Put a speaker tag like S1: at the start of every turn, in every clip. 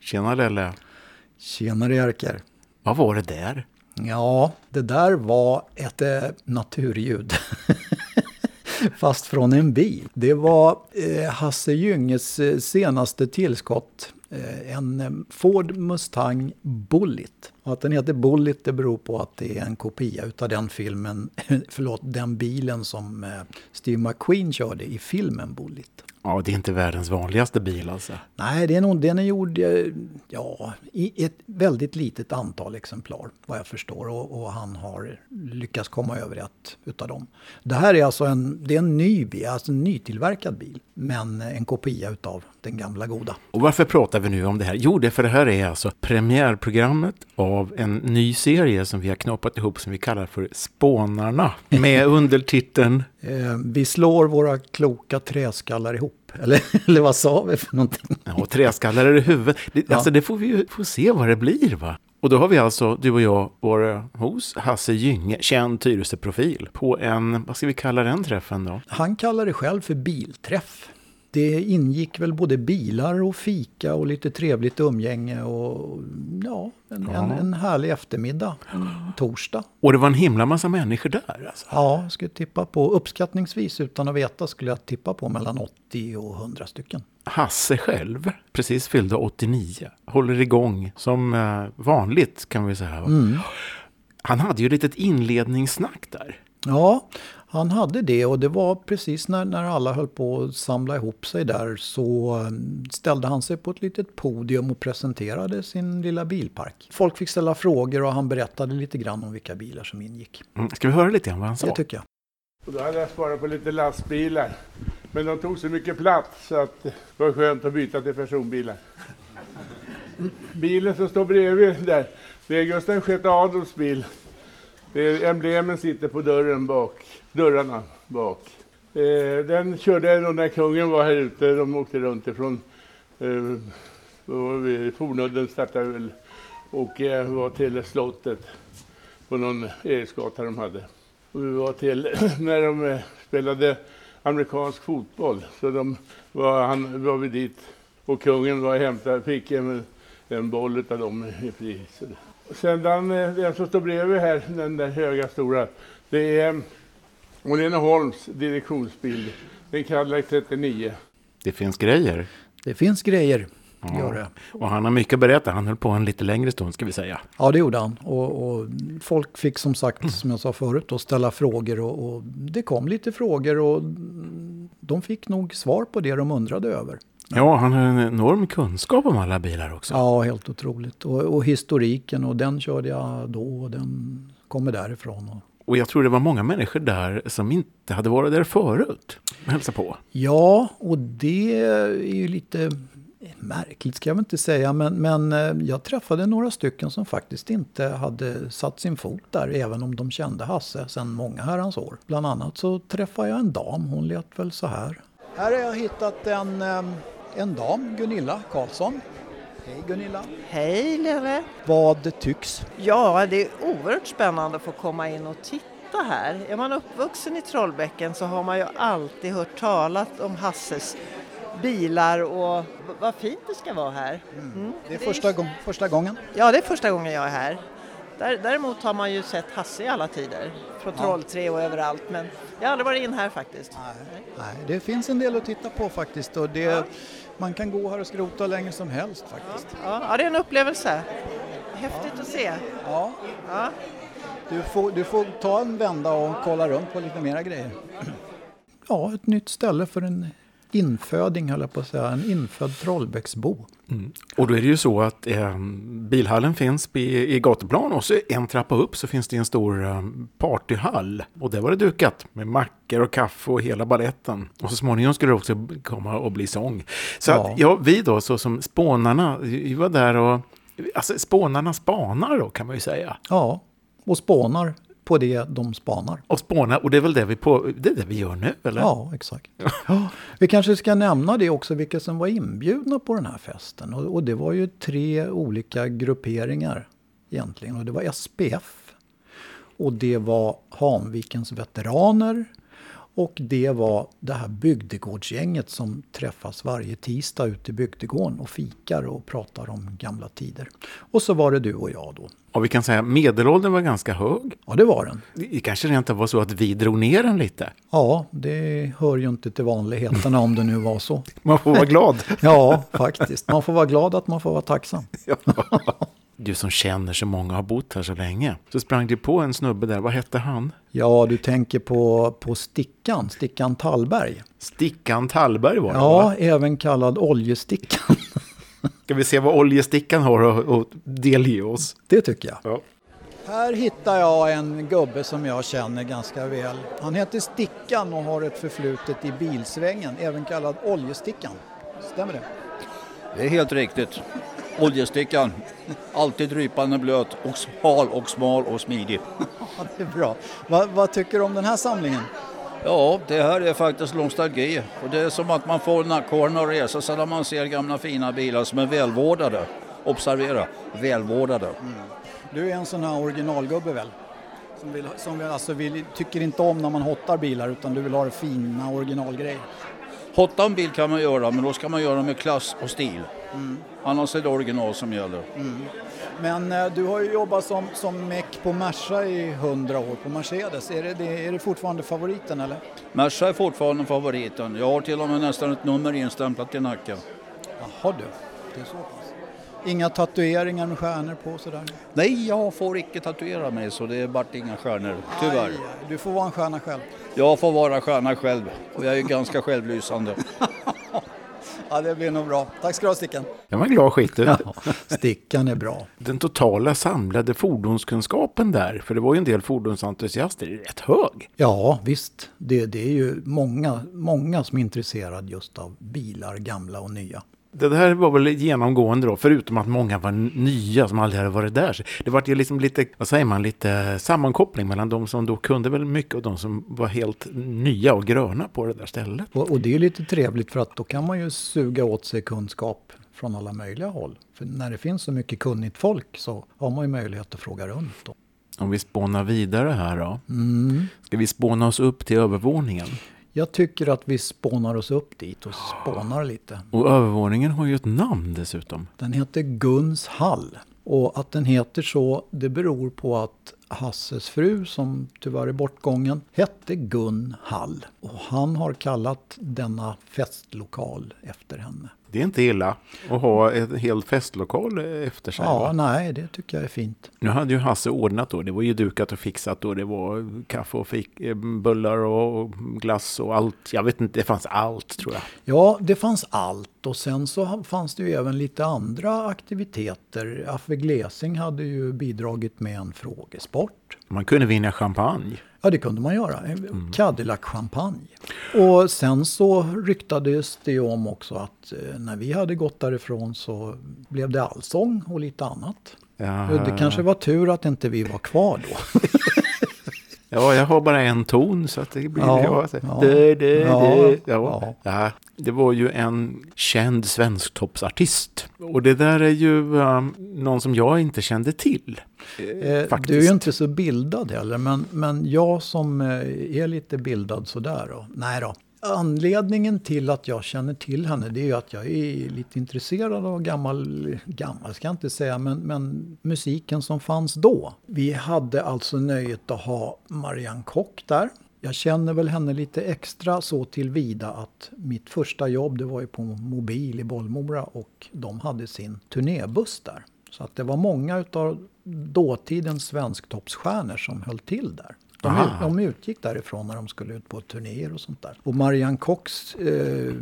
S1: Tjena Lelle.
S2: Tjenare Jerker.
S1: Vad var det där?
S2: Ja, det där var ett eh, naturljud. Fast från en bil. Det var eh, Hasse Gynges eh, senaste tillskott. Eh, en eh, Ford Mustang Bullitt. Och att den heter Bullitt det beror på att det är en kopia utav den filmen, förlåt, den bilen som eh, Steve McQueen körde i filmen Bullitt.
S1: Ja, det är inte världens vanligaste bil alltså.
S2: Nej, det är nog, den är gjord eh, ja, i ett väldigt litet antal exemplar vad jag förstår. Och, och han har lyckats komma över ett utav dem. Det här är alltså en, det är en ny bil, alltså en nytillverkad bil. Men en kopia utav den gamla goda.
S1: Och varför pratar vi nu om det här? Jo, det är för det här är alltså premiärprogrammet av en ny serie som vi har knoppat ihop som vi kallar för Spånarna. Med undertiteln
S2: Eh, vi slår våra kloka träskallar ihop. Eller, eller vad sa vi för någonting?
S1: ja, Träskallar i huvudet. Det, Alltså det får vi ju får se vad det blir va. Och då har vi alltså, du och jag, våra hos Hasse Gynge, känd Tyresöprofil, på en, vad ska vi kalla den träffen då?
S2: Han kallar det själv för bilträff. Det ingick väl både bilar och fika och lite trevligt umgänge och ja, en, en, en härlig eftermiddag, en torsdag.
S1: Och det var en himla massa människor där alltså.
S2: Ja, jag skulle tippa på, uppskattningsvis utan att veta skulle jag tippa på mellan 80 och 100 stycken.
S1: Hasse själv, precis fyllde 89, håller igång som eh, vanligt kan vi säga. va?
S2: Mm.
S1: Han hade ju ett litet inledningssnack där.
S2: Ja, han hade det och det var precis när, när alla höll på att samla ihop sig där så eh, ställde han sig på ett litet podium och presenterade sin lilla bilpark. Folk fick ställa frågor och han berättade lite grann om vilka bilar som ingick.
S1: Mm. Ska vi höra lite grann vad han sa?
S2: Det tycker jag.
S3: Och då hade jag sparat på lite lastbilar. Men de tog så mycket plats så att det var skönt att byta till personbilar. Bilen som står bredvid där, det är Gustav VI Adolfs bil. Det är, emblemen sitter på dörren bak, dörrarna bak. Eh, den körde jag nog när kungen var här ute. De åkte runt ifrån eh, och vi- Fornudden startade väl och eh, var till slottet på någon Eriksgata de hade. Och vi var till när de eh, spelade amerikansk fotboll. Så de var, han, var vi dit och kungen var och hämtade, fick en, en boll utav dem i pris. Sedan eh, den som står bredvid här, den där höga stora, det är Åhlén och Holms direktionsbil. Det är en Cadillac 39.
S1: Det finns grejer.
S2: Det finns grejer, gör det.
S1: Och han har mycket att berätta. Han höll på en lite längre stund ska vi säga.
S2: Ja, det gjorde han. Och, och folk fick som sagt, som jag sa förut, då, ställa frågor och, och det kom lite frågor och de fick nog svar på det de undrade över.
S1: Ja, han har en enorm kunskap om alla bilar också.
S2: Ja, helt otroligt. Och, och historiken och den körde jag då och den kommer därifrån. Och
S1: Och jag tror det var många människor där som inte hade varit där förut. Hälsa på.
S2: Ja, och det är ju lite märkligt ska jag väl inte säga, men, men eh, jag träffade några stycken som faktiskt inte hade satt sin fot där, även om de kände Hasse sedan många herrans år. Bland annat så träffade jag en dam, hon lät väl så här. Här har jag hittat en, eh, en dam, Gunilla Karlsson. Hej Gunilla.
S4: Hej Leve!
S2: Vad tycks?
S4: Ja, det är oerhört spännande att få komma in och titta här. Är man uppvuxen i Trollbäcken så har man ju alltid hört talat om Hasses bilar och v- vad fint det ska vara här. Mm.
S2: Det är första, gång, första gången.
S4: Ja, det är första gången jag är här. Där- Däremot har man ju sett Hasse i alla tider, från Trollträ och överallt, men jag har aldrig varit in här faktiskt. Nej.
S2: Nej, det finns en del att titta på faktiskt och det, man kan gå här och skrota hur länge som helst faktiskt.
S4: Ja, ja, det är en upplevelse. Häftigt att se.
S2: Ja.
S4: Ja.
S2: Du får, du får ta en vända och kolla runt på lite mera grejer. Ja, ett nytt ställe för en inföding höll jag på att säga, en infödd Trollbäcksbo.
S1: Och då är det ju så att eh, bilhallen finns i, i gatuplan och så en trappa upp så finns det en stor eh, partyhall. Och där var det dukat med mackor och kaffe och hela balletten. Och så småningom skulle det också komma och bli sång. Så
S2: Ja.
S1: att ja, vi då så som spånarna, vi var där och Alltså spånarna spanar då kan man ju säga.
S2: Ja, och spånar på det de spanar.
S1: Och spåna, och det är väl det vi, på, det är det vi gör nu eller?
S2: Ja, exakt. Ja, vi kanske ska nämna det också, vilka som var inbjudna på den här festen. Och, och det var ju tre olika grupperingar egentligen. Och det var SPF, och det var Hanvikens veteraner, Och det var det här bygdegårdsgänget som träffas varje tisdag ute i bygdegården och fikar och pratar om gamla tider. Och så var det du och jag då.
S1: Och vi kan säga att medelåldern var ganska hög.
S2: Ja, det var den.
S1: Det kanske rent av var så att vi drog ner den lite.
S2: Ja, det hör ju inte till vanligheterna om det nu var så.
S1: Man får vara glad.
S2: Ja, faktiskt. Man får vara glad att man får vara tacksam.
S1: Du som känner så många har bott här så länge. Så sprang du på en snubbe där, vad hette han?
S2: Ja, du tänker på, på Stickan, Stickan Tallberg.
S1: Stickan Tallberg var det va?
S2: Ja, även kallad Oljestickan.
S1: Ska vi se vad oljestickan har att- att delge oss?
S2: Det tycker jag.
S1: Ja.
S2: Här hittar jag en gubbe som jag känner ganska väl. Han heter Stickan och har ett förflutet i bilsvängen, även kallad Oljestickan. Stämmer det?
S5: Det är helt riktigt. Oljestickan. Alltid drypande blöt och smal och smal och smidig.
S2: Ja, det är bra. Va, vad tycker du om den här samlingen?
S5: Ja, det här är faktiskt nostalgi. Och det är som att man får nackhåren att resa sig när man ser gamla fina bilar som är välvårdade. Observera, välvårdade.
S2: Du är en sån här originalgubbe väl? Som, vill, som vill, alltså vill, tycker inte om när man hottar bilar utan du vill ha det fina originalgrejer.
S5: Hotta en bil kan man göra, men då ska man göra det med klass och stil. Annars är det original som gäller.
S2: Men eh, du har ju jobbat som, som meck på Merca i 100 år på Mercedes. Är det, det, är det fortfarande favoriten eller?
S5: Merca är fortfarande favoriten. Jag har till och med nästan ett nummer instämplat i nacken.
S2: Jaha du, det är så pass. Inga tatueringar med stjärnor på och sådär?
S5: Nej, jag får icke tatuera mig så det vart inga stjärnor, tyvärr.
S2: Aj, du får vara en stjärna själv.
S5: Jag får vara stjärna själv och jag är ju ganska självlysande.
S2: Ja, det blir nog bra. Tack ska du ha Stickan.
S1: Den var glad skit ut.
S2: Stickan är bra.
S1: Den totala samlade fordonskunskapen där, för det var ju en del fordonsentusiaster, är rätt hög.
S2: Ja, visst. Det, det är ju många, många som är intresserade just av bilar, gamla och nya.
S1: Det här var väl genomgående då, förutom att många var n- nya som aldrig hade varit där. Så Det var ju liksom lite, vad säger man, lite sammankoppling mellan de som då kunde väl mycket och de som var helt nya och gröna på det där stället.
S2: Och, och det är ju lite trevligt för att då kan man ju suga åt sig kunskap från alla möjliga håll. För när det finns så mycket kunnigt folk så har man ju möjlighet att fråga runt. Då.
S1: Om vi spånar vidare här då.
S2: Mm.
S1: Ska vi spåna oss upp till övervåningen?
S2: Jag tycker att vi spånar oss upp dit och spånar lite.
S1: Och övervåningen har ju ett namn dessutom.
S2: Den heter Guns hall. Och att den heter så, det beror på att Hasses fru, som tyvärr är bortgången, hette Gun Hall. Och han har kallat denna festlokal efter henne.
S1: Det är inte illa att ha en hel festlokal eh, efter sig.
S2: Ja,
S1: va?
S2: nej, det tycker jag är fint.
S1: Nu hade ju Hasse ordnat då. Det var ju dukat och fixat då. Det var kaffe och fik, eh, bullar och glass och allt. Jag vet inte, det fanns allt tror jag.
S2: Ja, det fanns allt och sen så fanns det ju även lite andra aktiviteter. Affe Glesing hade ju bidragit med en frågesport.
S1: Man kunde vinna champagne.
S2: Ja, det kunde man göra. Cadillac-champagne. Och sen så ryktades det ju om också att eh, när vi hade gått därifrån så blev det allsång och lite annat.
S1: Ja.
S2: Det kanske var tur att inte vi var kvar då.
S1: Ja, jag har bara en ton så att det blir...
S2: Ja,
S1: Ja, så-
S2: ja.
S1: Dö, dö, dö.
S2: Ja,
S1: ja. ja. Det var ju en känd svensktoppsartist. Och det där är ju um, någon som jag inte kände till.
S2: Eh, Du är
S1: faktiskt.
S2: ju inte så bildad heller, men, men jag som eh, är lite bildad sådär då. Nej då. Anledningen till att jag känner till henne det är ju att jag är lite intresserad av gammal, gammal ska jag inte säga, men, men musiken som fanns då. Vi hade alltså nöjet att ha Marianne Kock där. Jag känner väl henne lite extra så tillvida att mitt första jobb det var ju på Mobil i Bollmora och de hade sin turnébuss där. Så att det var många utav dåtidens svensktoppsstjärnor som höll till där. De,
S1: Ah.
S2: ut, de utgick därifrån när de skulle ut på turnéer och sånt där. Och Marianne Cox eh,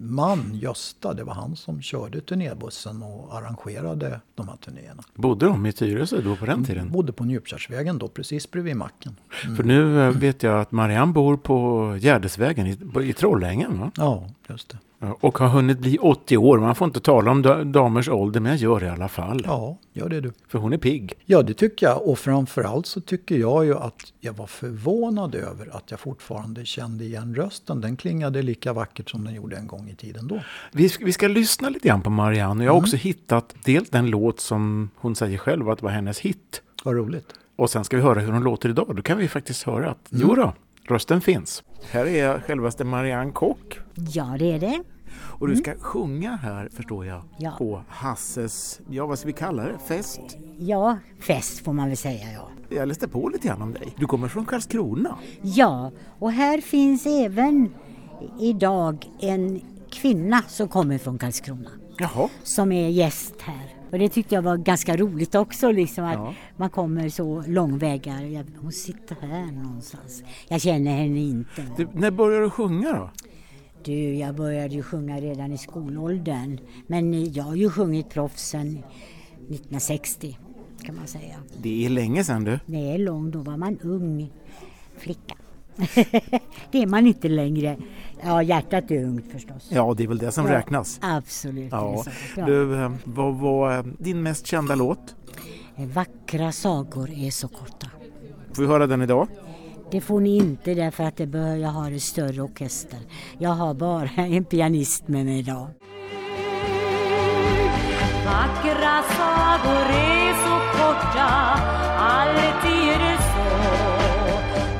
S2: man Gösta, det var han som körde turnébussen och arrangerade de här turnéerna.
S1: Bodde de i Tyresö då på
S2: Mm.
S1: den tiden?
S2: Bodde på Njupkärsvägen då, precis bredvid macken.
S1: För nu eh, vet jag att Marianne bor på Gärdesvägen i, på- i Trollhängen. Va?
S2: Ja, just det.
S1: Ja, Och har hunnit bli 80 år. Man får inte tala om da- damers ålder, men jag gör det i alla fall.
S2: Ja, gör det du.
S1: För hon är pigg.
S2: Ja, det tycker jag. Och framförallt så tycker jag ju att jag var förvånad över att jag fortfarande kände igen rösten. Den klingade lika vackert som den gjorde en gång i tiden då.
S1: Vi, sk- vi ska lyssna lite grann på Marianne. Jag har också hittat dels den låt som hon säger själv att var hennes hit.
S2: Vad roligt.
S1: Och sen ska vi höra hur hon låter idag. Då kan vi faktiskt höra att, jo då, Rösten finns. Mm. Här är självaste Marianne Kock
S6: Ja, det är det.
S1: och du ska sjunga här förstår jag
S6: Ja.
S1: på Hasses, ja vad ska vi kalla det, fest?
S6: Ja, fest får man väl säga ja.
S1: Jag läste på lite grann om dig. Du kommer från Karlskrona.
S6: Ja, och här finns även idag en kvinna som kommer från Karlskrona
S1: Jaha.
S6: som är gäst här. Och det tyckte jag var ganska roligt också, liksom att
S1: Ja.
S6: man kommer så långvägar. Jag, hon sitter här någonstans. Jag känner henne inte.
S1: Du, när började du sjunga då?
S6: Du, jag började ju sjunga redan i skolåldern. Men jag har ju sjungit proffs sedan 1960 kan man säga.
S1: Det är länge sedan du.
S6: Det är lång, då var man ung flicka. det är man inte längre. Ja, hjärtat är ungt förstås.
S1: Ja, det är väl det som räknas.
S6: Absolut. det är
S1: Ja.
S6: så. Ja.
S1: Du, eh, vad var eh, din mest kända låt?
S6: Vackra sagor är så korta.
S1: Får vi höra den idag?
S6: Det får ni inte därför att det bör, jag har en större orkester. Jag har bara en pianist med mig idag.
S7: Vackra sagor är så korta, alltid är det så.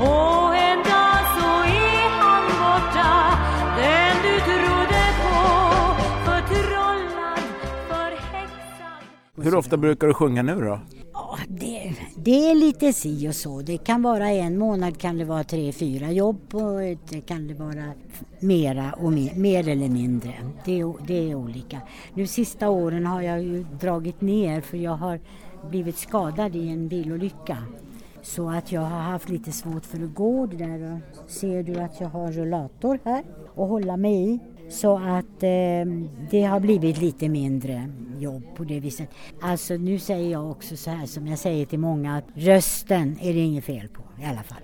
S7: Och en dag så är han borta, den du trodde på. Förtrollad, förhäxad.
S1: Hur ofta brukar du sjunga nu då?
S6: Ja, det, det är lite si och så. Det kan vara en månad, kan det vara tre, fyra jobb och det kan det vara mera och mer, mer eller mindre. Det är, o- det är olika. Nu sista åren har jag ju dragit ner för jag har blivit skadad i en bilolycka. Så att jag har haft lite svårt för att gå. Det där och ser du att jag har en rullator här och hålla mig i. Så att eh, det har blivit lite mindre jobb på det viset. Alltså nu säger jag också så här som jag säger till många att rösten är det inget fel på i alla fall.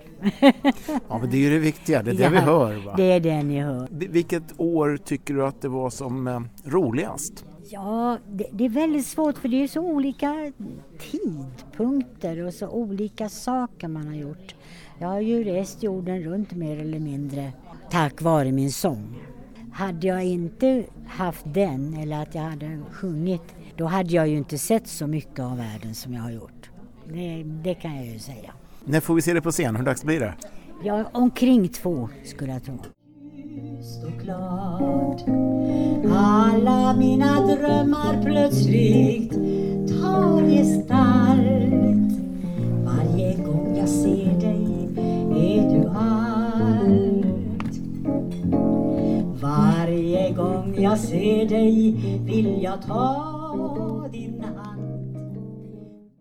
S1: Ja, men det är ju det viktiga. Det är det vi
S6: Ja,
S1: hör va?
S6: Det är det ni hör.
S1: Vi- Vilket år tycker du att det var som eh, roligast?
S6: Ja, det, det är väldigt svårt för det är så olika tidpunkter och så olika saker man har gjort. Jag har ju rest jorden runt mer eller mindre tack vare min sång. Hade jag inte haft den eller att jag hade sjungit, då hade jag ju inte sett så mycket av världen som jag har gjort. Det, det kan jag ju säga.
S1: När får vi se det på scen? Hur dags blir det?
S6: Jag, omkring två skulle jag tro.
S7: och klart. Alla mina drömmar plötsligt tar gestalt. Varje gång jag ser dig är du allt. Varje gång jag ser dig vill jag ta din hand.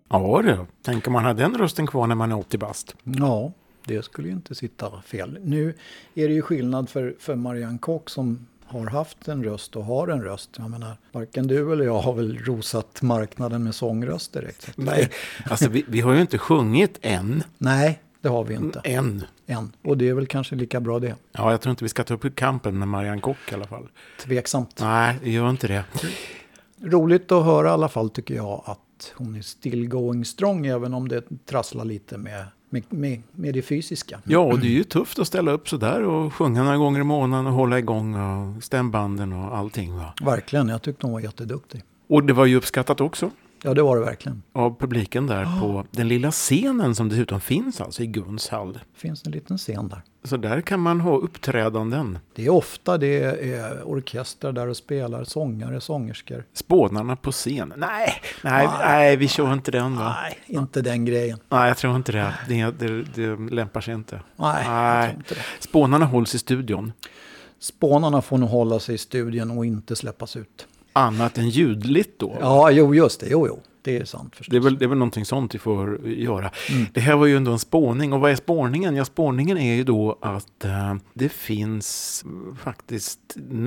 S1: Ja du, tänk om man har den rösten kvar när man är 80 bast.
S2: Ja, det skulle ju inte sitta fel. Nu är det ju skillnad för, för Marianne Kock som har haft en röst och har en röst. Jag menar, varken du eller jag har väl rosat marknaden med sångröst direkt. Så att-
S1: Nej, alltså vi, vi har ju inte sjungit än.
S2: Nej, det har vi inte
S1: Än.
S2: än. Och det är väl kanske lika bra det.
S1: Ja, jag tror inte vi ska ta upp kampen med Marianne Kock i alla fall.
S2: Tveksamt.
S1: Nej, gör inte det.
S2: Roligt att höra i alla fall tycker jag att hon är still going strong även om det trasslar lite med, med, med, med det fysiska.
S1: Ja, och det är ju tufft att ställa upp sådär och sjunga några gånger i månaden och hålla igång och stämbanden och allting. Va?
S2: Verkligen, jag tyckte hon var jätteduktig.
S1: Och det var ju uppskattat också
S2: Ja, det var det verkligen.
S1: av publiken där på den lilla scenen som dessutom finns alltså i Gunshall.
S2: finns en liten scen där.
S1: Så där kan man ha uppträdanden.
S2: Det är ofta det är orkestrar där och spelar, sångare, sångerskor.
S1: Spånarna på scen. Nej, nej, nej vi kör inte den va?
S2: Nej, inte den grejen.
S1: Nej, jag tror inte det. Det, det, det lämpar sig inte.
S2: Nej, jag tror inte det.
S1: Spånarna hålls i studion.
S2: Spånarna får nog hålla sig i studien och inte släppas ut.
S1: Annat än ljudligt då.
S2: Ja, jo, just det. Jo, jo. Det är sant förstås.
S1: Det är, väl, det är väl någonting sånt vi får göra. Det här var ju ändå en spåning. Och vad är spåningen? Ja, spåningen är ju då att eh, det finns eh, faktiskt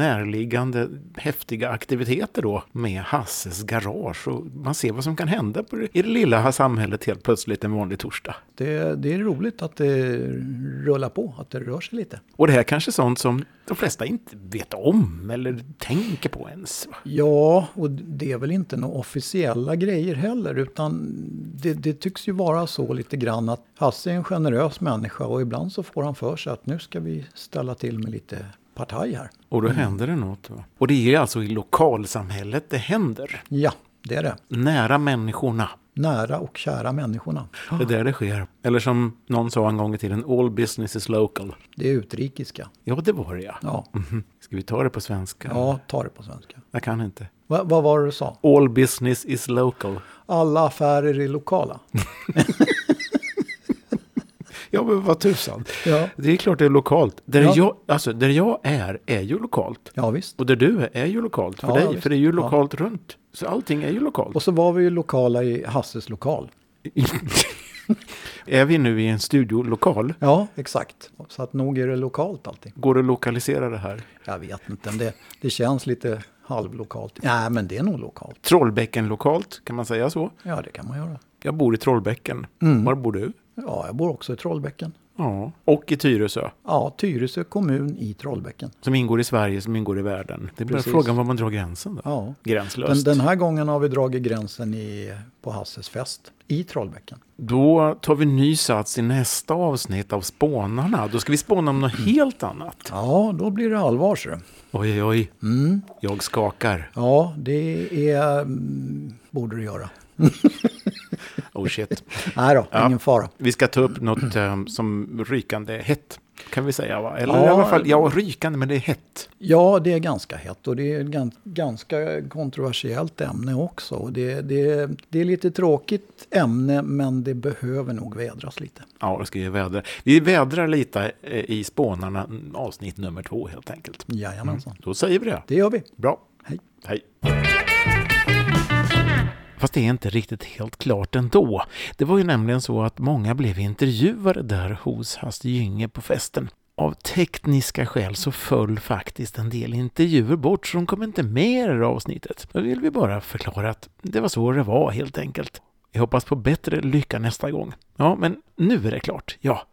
S1: närliggande häftiga aktiviteter då med Hasses garage. Och man ser vad som kan hända på det, i det lilla här samhället helt plötsligt en vanlig torsdag.
S2: Det, det är roligt att det rullar på, att det rör sig lite.
S1: Och det här kanske är sånt som de flesta inte vet om eller tänker på ens. va?
S2: Ja, och det är väl inte några officiella grejer heller, utan det, det tycks ju vara så lite grann att Hasse är en generös människa och ibland så får han för sig att nu ska vi ställa till med lite partaj här.
S1: Och då händer det något. Va? Och det är alltså i lokalsamhället det händer.
S2: Ja, det är det.
S1: Nära människorna.
S2: nära och kära människorna.
S1: Det är där det sker. Eller som någon sa en gång i tiden, all business is local.
S2: Det är utrikiska.
S1: Ja, det var det ja.
S2: Ja,
S1: Mhm. Ska vi ta det på svenska?
S2: ja ta det på svenska.
S1: Jag kan inte.
S2: Va, vad var det du sa?
S1: All business is local.
S2: Alla affärer är lokala.
S1: Ja, men vad tusan.
S2: Ja,
S1: Det är klart det är lokalt. Där,
S2: Ja.
S1: jag, alltså, där jag är, är ju lokalt.
S2: ja visst.
S1: Och där du är, är ju lokalt för
S2: Ja,
S1: dig.
S2: ja, visst.
S1: för det är ju
S2: Ja.
S1: lokalt runt. Så allting är ju lokalt.
S2: Och så var vi ju lokala i Hasses lokal.
S1: är vi nu i en studiolokal?
S2: Ja, exakt. Så att nog är det lokalt allting.
S1: Går det att lokalisera det här?
S2: Jag vet inte, men det, det känns lite halvlokalt. Nej, men det är nog lokalt.
S1: Trollbäcken lokalt, kan man säga så?
S2: Ja, det kan man göra.
S1: Jag bor i Trollbäcken. Var bor du?
S2: Ja, jag bor också i Trollbäcken.
S1: Ja. Och i Tyresö,
S2: Ja, Tyresö kommun i Trollbäcken.
S1: som ingår i Sverige, som ingår i världen. Det är bara
S2: Precis.
S1: frågan var man drar gränsen då.
S2: Ja. Den,
S1: Gränslöst.
S2: den här gången har vi dragit gränsen i, på Hasses fest i Trollbäcken.
S1: Då tar vi ny sats i nästa avsnitt av Spånarna. Då ska vi spåna om något helt annat.
S2: Mm. Ja, Mm. då blir det allvar. Så.
S1: Oj, oj, oj. Jag skakar.
S2: Ja, det är, mm, borde du göra.
S1: Oh shit.
S2: Nej då,
S1: Ja.
S2: ingen fara.
S1: Vi ska ta upp något eh, som rykande hett, kan vi säga va? Eller i
S2: Ja.
S1: alla fall, ja rykande men det är hett.
S2: Ja, det är ganska hett och det är ett gan- ganska kontroversiellt ämne också. Och Det, det, det är lite tråkigt ämne, men det behöver nog vädras lite.
S1: Ja, det ska vi vädra. Vi vädrar lite eh, i Spånarna mm, avsnitt nummer två helt enkelt.
S2: Mm. Jajamensan,
S1: Då säger vi det.
S2: det gör vi.
S1: Bra.
S2: Hej.
S1: Hej. Fast det är inte riktigt helt klart ändå. Det var ju nämligen så att många blev intervjuade där hos Hasse Gynge på festen. Av tekniska skäl så föll faktiskt en del intervjuer bort så de kom inte med i det här avsnittet. Då vill vi bara förklara att det var så det var helt enkelt. Jag hoppas på bättre lycka nästa gång. Ja, men nu är det klart. Ja.